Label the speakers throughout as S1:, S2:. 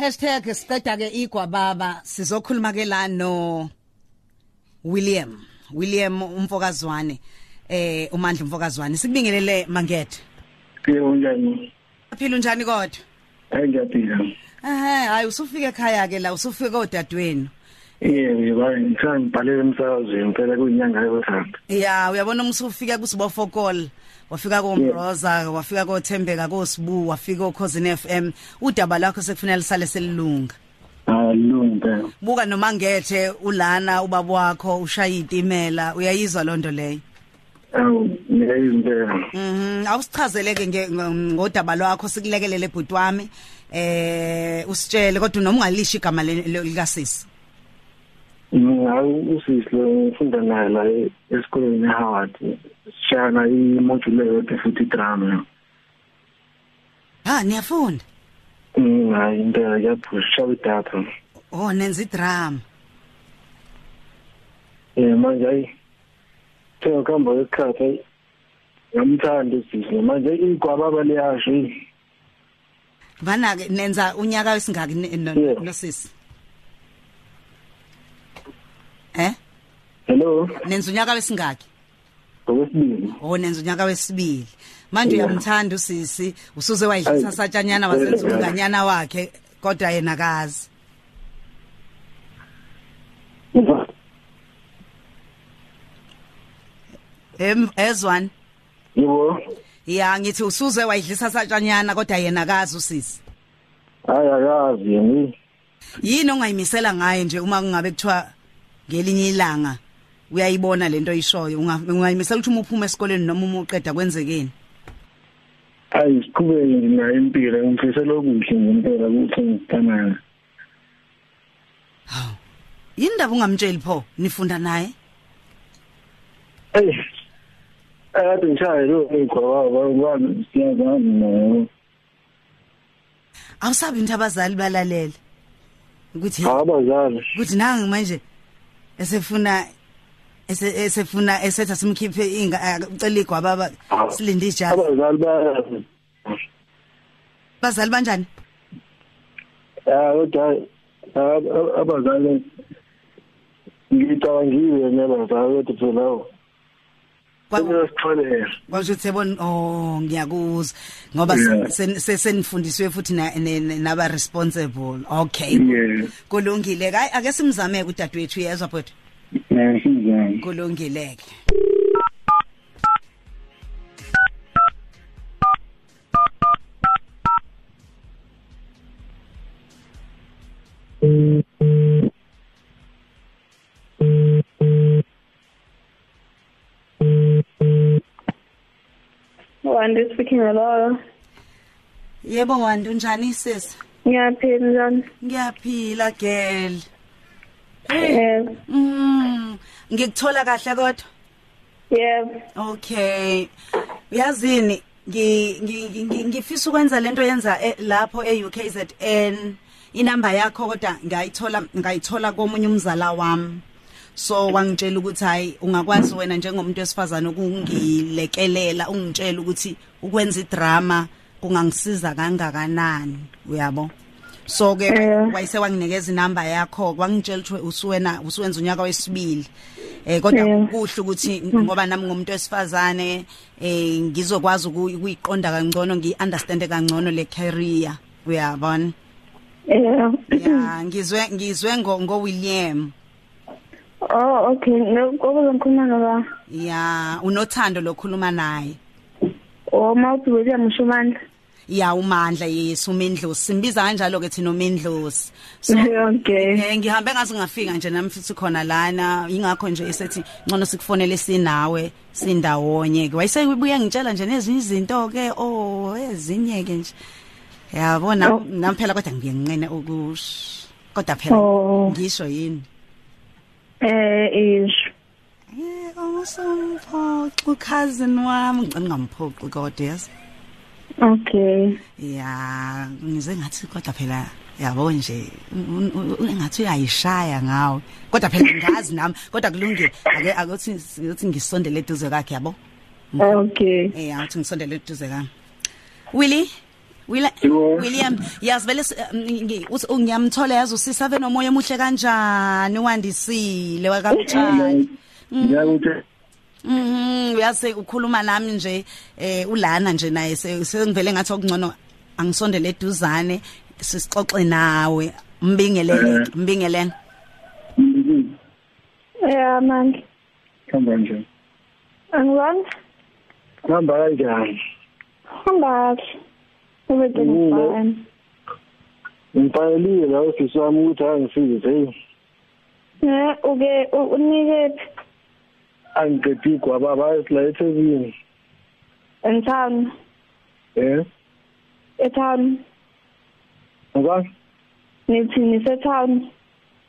S1: hashtag siqeda ke igwa baba sizokhuluma ke la no William William umfokazwane eh umandla umfokazwane sikubingelele mangethe
S2: Kuyo njani?
S1: aphila unjani kodwa
S2: Hayi ngiyaphila.
S1: ehe hayi usufika ekhaya ke la usufika odadweni
S2: Eh ngiba ngibhalele emsakazweni phela kuyinyanga yesithathu.
S1: ya uyabona umsufika kusibofokola wafika koMroza wafika koThembeka koSibu wafika koCousin FM udaba lakho sekufanele lisale selilunga
S2: Alungi phela.
S1: buka nomangethe ulana ubaba wakho ushaya itimela uyayizwa lonto leyo
S2: Awu ngiyayizimpela.
S1: Mhm awusichazeleke nge ng- ngodaba lwakho sikulekelele bhuti wami eh usitshele kodwa noma ungalisha igama le- le- lika sisi
S2: Ngawu usisi lo ngifunda naye la e- esikoleni eHoward. Sishana imodule yodwa futhi drama.
S1: ha niyafunda
S2: Ngayi Mm, impela ngiyaphusha idatha.
S1: oh nenza idrama
S2: Eh manje ayi. Phela kamba isikhathi ayi. Ngiyamthanda usisi manje igwaba baliyasho.
S1: bana ke nenza unyaka wesingaki ne- no-
S2: Yeah.
S1: no sisi eh
S2: Hello.
S1: nenza unyaka wesingaki
S2: Ngokwesibili.
S1: oh nenza unyaka wesibili manje
S2: Yeah.
S1: uyamthanda usisi usuze wayidlisa
S2: Ayi.
S1: satshanyana wasenza
S2: Yeah.
S1: umnganyana wakhe kodwa yena kazi
S2: Uva.
S1: em ezwani
S2: Yebo.
S1: Ya ngithi usuze wayidlisa satshanyana kodwa yena akazi usisi.
S2: Hayi akazi yini.
S1: Yini ongayimisela ngaye nje uma kungabe kuthiwa ngelinye ilanga uyayibona lento oyishoyo unga- ungayimisela ukuthi uma uphuma esikoleni noma uma uqeda kwenzekeni.
S2: Hayi siqhubeke nje nayo impilo ngimfisela okuhle nje impela ukuthi ngithanana.
S1: Yini ndaba ungamtsheli pho nifunda naye?
S2: Hey. Ade ngishaye lo ngikhoba ngani siyazana nayo.
S1: Awusabi into abazali balalela. Ukuthi
S2: Abazali.
S1: ukuthi nangi manje esefuna ese- esefuna esetha simkhiphe inga ucela igwaba baba silinde ijazi.
S2: Abazali bayazi.
S1: Bazali banjani?
S2: Ah kodwa ab- ab- abazali ngicabangile nabazali kodwa phela hawu,
S1: Kwa-
S2: kumele sitholela.
S1: Washo thebon oh ngiyakuzwa ngoba
S2: Yeah.
S1: sen- sen- senifundiswe futhi na ne- ne- naba responsible okay
S2: Yeah.
S1: kulungile Hayi, ake simzame ke udadewethu yezwa but
S2: Ngisizana.
S1: kulungile ke
S3: Wande speaking hello.
S1: yebo wandu unjani sisi
S3: Ngiyaphila njani?
S1: ngiyaphila girl
S3: Eh,
S1: mm ngikuthola kahle kodwa
S3: yebo.
S1: okay uyazini ngi- ngi- ngi- ngifisa ukwenza lento yenza e- lapho e-UKZN inamba yakho kodwa ngayithola ngayithola komunye umzala wami so wangitshela ukuthi hayi ungakwazi wena njengomuntu wesifazane ukungilekelela ungitshela ukuthi ukwenza idrama kungangisiza kangakanani uyabo so ke
S3: Eh.
S1: wayese wanginikeza inamba yakho kwangitshela ukuthi usuwena usuwenza unyaka wesibili eh kodwa
S3: Eh.
S1: kuhle ukuthi ngoba nami ngumuntu wesifazane eh ngizokwazi ukuy- ukuyiqonda kangcono ngiunderstand kangcono le career uyabona
S3: Yeah.
S1: ya ngizwe ngizwe ngo ngo William
S3: Oh, okay. Ngokuzo ngikhuluma ngoba
S1: ya unothando lokhuluma naye
S3: oh mawuthi William Shumandla.
S1: ya umandla yesu umendlosi simbiza kanjalo ke thina umendlosi so
S3: Okay.
S1: Eh ngihambe ngathi ngafika nje nami futhi khona lana ingakho nje esethi ngcono sikufonele sinawe sindawonye ke wayesebuya ngitshela nje nezinye izinto ke oh ezinye ke nje yabona
S3: Oh.
S1: nami phela kodwa ngiye nginqene ukush kodwa phela
S3: Oh.
S1: ngisho yini
S3: Eh, ish.
S1: eh awusomphoxi cousin wami ngicela ngamphoxi kodwa yes
S3: Okay.
S1: ya ngize ngathi kodwa phela yabo nje un- un- un- engathi uyayishaya ngawe kodwa phela ngazi nami kodwa kulungile ake akuthi ukuthi ngisondele eduze kwakhe yabo
S3: Okay.
S1: eh awuthi ngisondele eduze kami Willy Willa-
S2: Yebo.
S1: William yazi vele si- um, ngi- uthi ngiyamthola yazi usisa ave nomoya emuhle kanjani wandisile wakamthandi
S2: ngiyakuthi
S1: Mhm uyase ukhuluma nami nje eh ulana nje naye se- sengivele ngathi okungcono angisondele eduzane sisixoxe nawe mbingelele
S2: Eh.
S1: mbingelele
S3: Eh manje
S2: hamba nje
S3: angizange
S2: hamba kanjani
S3: hamba kahle. Ube ngibani?
S2: ngibhalelile la usisi wami ukuthi angisize heyi
S3: Eh uke u- unike
S2: angiqedi igwaba bayesila ethekwini
S3: in town
S2: um
S3: e town
S2: ngoba
S3: nithi nise town.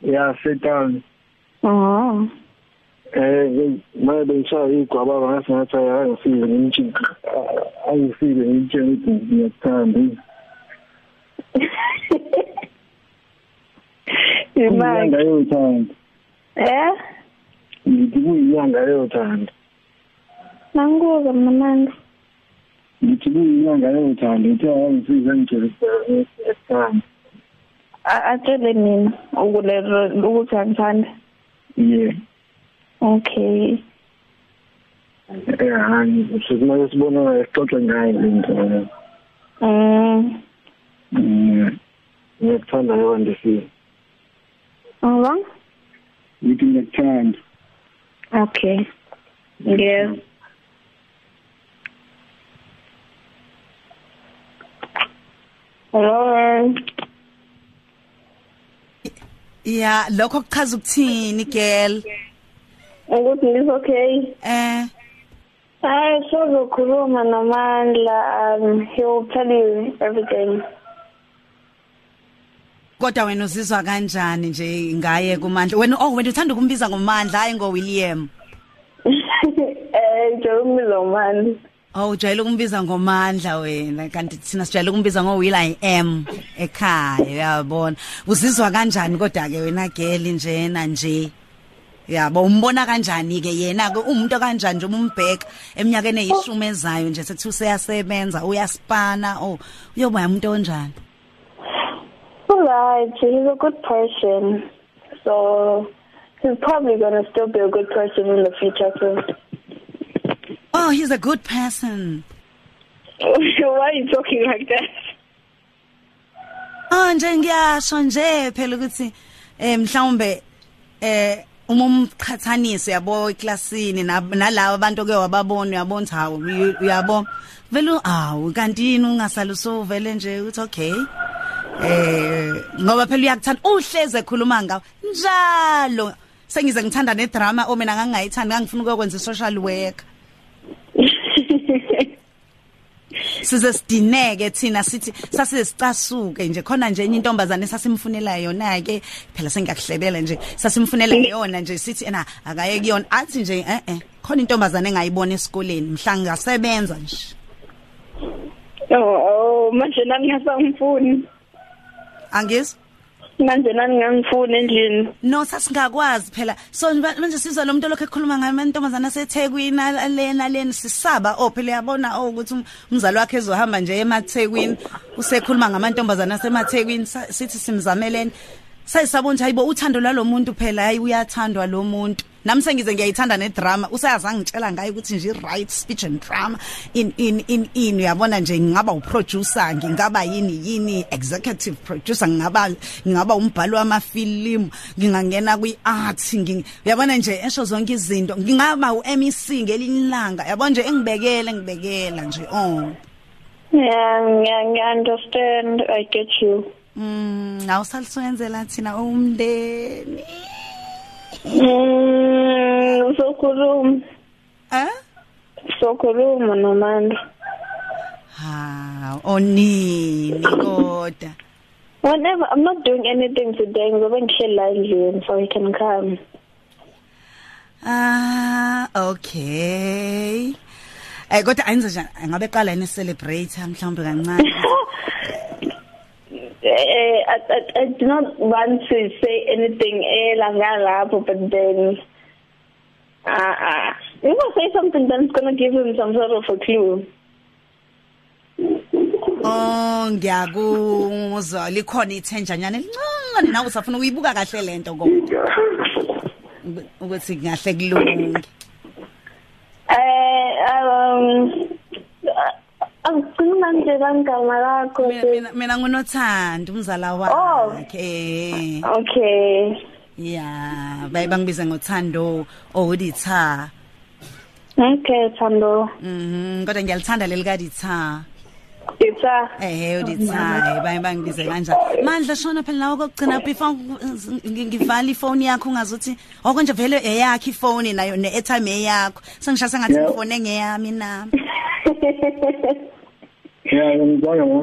S2: ya setani
S3: Oh.
S2: um manje bengishaya igwaba bangase ngathi hayi angisize ngimtshike angisize ngimtshike ukuthi ngiyakuthanda
S3: Imali.
S2: kuyinyanga yothanda
S3: Eh?
S2: ngithi kuyinyanga yothanda
S3: Nanguza mnandi.
S2: ngithi kuyinyanga yothanda ngithi hayi angisize ngitshele ngiyakuthanda
S3: Atshele mina ukulelo ukuthi angithandi.
S2: ye
S3: Okay.
S2: um sekumele sibonana sixoxe ngayo le nto
S3: Mm.
S2: um ngiyakuthanda yobandisile
S3: Ngoba?
S2: ngithi ngiyakuthanda
S3: Okay. Ngiyezwa. Hello.
S1: ya lokho kuchaza ukuthini girl
S3: Ukuthi ngis okay.
S1: eh
S3: Hayi sozokhuluma nomandla um he will tell you everything.
S1: kodwa wena uzizwa kanjani nje ngaye kumandla wena oh wena uthanda ukumbiza ngomandla hayi ngo William
S3: eh Jeremy Lomandla.
S1: Oh ujayele ukumbiza ngomandla wena kanti thina sijayele ukumbiza ngo Will I am ekhaya uyabona uzizwa kanjani kodwa ke wena girl njena nje yabo umbona kanjani ke yena ke umuntu kanjani nje umumbheka eminyakeni eyishumi ezayo nje sethi useyasebenza uyaspana oh uyoba umuntu onjani
S3: Alright, he's a good person. So he's probably gonna still be a good person in the future too.
S1: Oh he's a good person
S3: Why are you talking like that?
S1: Ah nje ngiyasho nje phela ukuthi eh mhlawumbe eh uma umqhathanise yabo eklasini nab- nalabo abantu ke wababona uyabona ukuthi hawo uyabo vele awu kanti yini ungasaluso vele nje uthi okay eh ngoba phela uyakuthanda uhleze ekhuluma ngawo njalo sengize ngithanda ne drama o mina ngangayithandi ngangifuna ukwenza social worker size sidineke thina sithi sasize sicasuke nje khona nje enye intombazane sasimfunela yona ke phela sengiyakuhlebela nje sasimfunela yona nje sithi ena akaye kuyona athi nje eh eh khona intombazane engayibona esikoleni mhla ngasebenza nje
S3: oh, oh, manje nami ngasangifuni.
S1: angizwa
S3: Manje nami ngangifuni endlini.
S1: no sasingakwazi phela so nje manje sizwa lo muntu lokho ekhuluma ngayo amantombazana aseThekwini alena leni sisaba oh phela uyabona oh ukuthi um- umzali wakhe ezohamba nje emaThekwini usekhuluma ngamantombazana asemaThekwini sa- sithi simzameleni sayisabona ukuthi hayibo uthando lalomuntu phela hayi uyathandwa lo muntu nami sengize ngiyayithanda ne drama usayazange ngitshela ngayo ukuthi nje right speech and drama in in in in uyabona nje ngingaba uproducer ngingaba yini yini executive producer ngingaba ngingaba umbhalo wamafilimu ngingangena kwiart uyabona nje esho zonke izinto ngingaba u-M E uMEC ngelinyilanga yabona nje engibekele ngibekela nje oh
S3: Yeah, yeah, I understand. I get you.
S1: mm awusalisenzela thina umndeni
S3: Mm, uzokhuluma
S1: eh
S3: uzokhuluma nomandla
S1: ha onini kodwa
S3: whenever i'm not doing anything today ngizobe ngihleli la endlini so he can come
S1: Ah, okay. Eh kodwa ayenze njani? Ngabe qala yini celebrate mhlawumbe kancane.
S3: Eh, I, I, I do not want to say anything eh, elangalapho but then uh, uh, if I say something then it's going to give him some sort of a clue
S1: Oh ngiyakuzwa likhona ithenjanyana elincane nawe usafuna ukuyibuka kahle lento ngoba ube- ukuthi ngahle kulunge
S3: Eh um uh, Angicini manje bangama lakho.
S1: Mina- mina mina ngunothanda umzala
S3: Oh.
S1: wakhe
S3: Okay.
S1: yeah baye bangibiza ngothando ouditha
S3: Okay, Thando.
S1: mhm kodwa ngiyalithanda leli kaditha
S3: It's uh, a
S1: ehe uditha baye bangibize kanjani mandla shona phela lawo kokugcina before ngi- ngi- ngivale ifoni yakho ungazuthi oko nje vele eyakho ifoni nayo ne-airtime eyakho sengishasa ngathi
S2: Yeah.
S1: ifoni engeyami nami
S2: ya ngibona ngo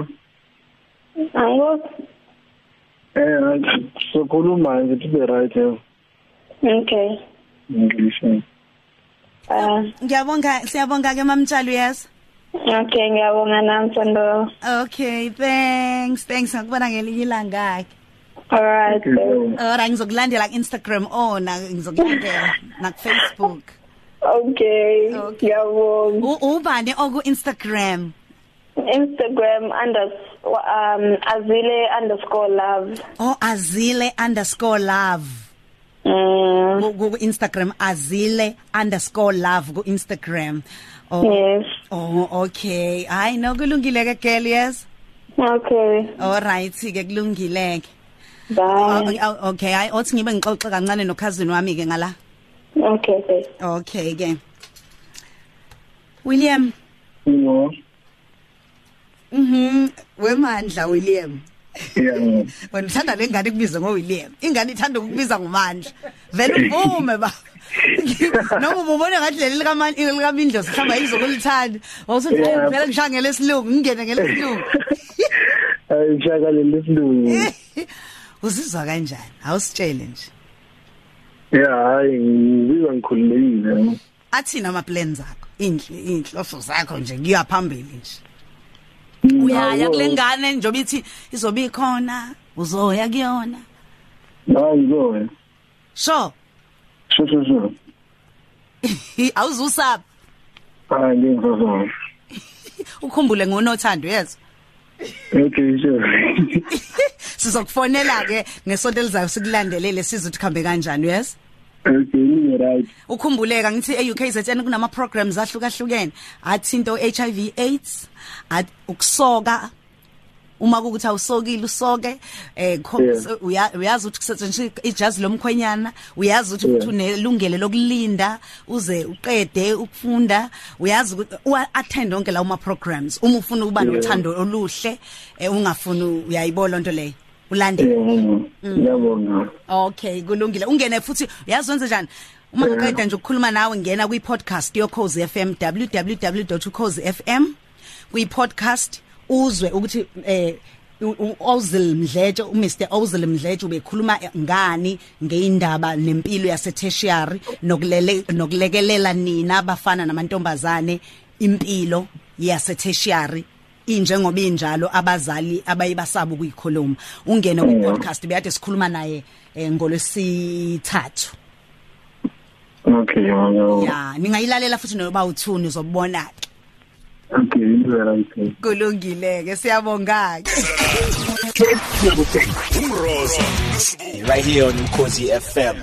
S3: Ango.
S2: eh sokhuluma nje to the right eh,
S3: Okay.
S2: English eh.
S3: Uh
S1: ngiyabonga siyabonga ke mamtshalo yes
S3: okay ngiyabonga uh, nami Thando.
S1: okay thanks thanks ngakubona ngelinye ilanga ke
S3: All right.
S2: Okay, so-
S1: ora ngizokulandela ku-instagram ona ngizokulandela nakufacebook
S3: uh, Okay.
S1: Okay.
S3: Ngiyabonga.
S1: U- ubani oku-instagram
S3: Instagram unders um azile underscore love.
S1: o Oh, azile underscore love
S3: Mm.
S1: Ku- ku- ku-instagram azile underscore love ku-instagram oh,
S3: Yes.
S1: oh okay hayi no kulungile ke girl yes
S3: Okay.
S1: alright ke kulungile ke
S3: Bye.
S1: Oh, okay hayi othi ngibe ngixoxe kancane nokhazini wami ke ngala
S3: Okay. babe.
S1: okay ke william
S2: ngo
S1: Mhm, wemandla William.
S2: ya ngo.
S1: Wena uthanda lengane kubiza ngoWilliam. Ingane ithanda ukubiza ngomandla. Vele uvume ba. Noma ubone ngathi leli likamani likamindlo sihlamba izokulithanda. Wawusuthi "Hayi,
S2: Yeah.
S1: vele ngishangele esilungu, ngingene ngelesilungu.
S2: Eh, shaka le lesilungu
S1: Uzizwa kanjani? Awusitshele nje.
S2: ya hayi ngizizwa ngikhululekile
S1: Athina ama plans akho, inhle inhloso zakho nje kuya phambili nje.
S2: Mm,
S1: Uyaya
S2: awu,
S1: kulengane njobe ithi izobe ikhona, uzoya kuyona.
S2: hayi ngizona
S1: Sho,
S2: sho sho sho
S1: awuzusaba.
S2: hayi ngizona
S1: ukhumbule ngonothando yezo
S2: okay sure
S1: sizokufonela ke ngesonto elizayo sikulandelele siza ukuthi khambe kanjani yes
S2: okay you right
S1: ukhumbuleka ngithi e-UKZN kunama programs ahlukahlukene athi into HIV AIDS at ukusoka uma kukuthi awusokile usoke eh kho-
S2: Yeah.
S1: so- uya- uyazi ukuthi kusetshenziswa ijazi lomkhwenyana uyazi ukuthi futhi unelungelo lokulinda uze uqede ukufunda uyazi ukuthi uwa- attend onke lawo ma programs uma ufuna ukuba
S2: Yeah.
S1: nothando oluhle eh, ungafuni uyayibola into leyo ulandele
S2: yeah ngiyabonga
S1: Okay kulungile ungene futhi uyazwenza njani uma
S2: Yeah.
S1: ngiqeda nje ukukhuluma nawe ngena kwi podcast yo Cause FM www.cozefm kwi podcast uzwe ukuthi eh u- u- Ozil Mdletshe u Mr Ozil Mdletshe ubekhuluma ngani ngeindaba nempilo yase tertiary nokulele nokulekelela nina abafana namantombazane impilo yase tertiary injengoba injalo abazali abayibasaba ukuyikhuluma ungene ku
S2: Yeah.
S1: podcast beyade sikhuluma naye eh, ngolwesithathu
S2: okay ngiyabonga
S1: ya ningayilalela futhi noba uthuni uzobona ke
S2: okay you right
S1: kulungile ke siyabonga ke
S4: umrosa right here on ukhosi fm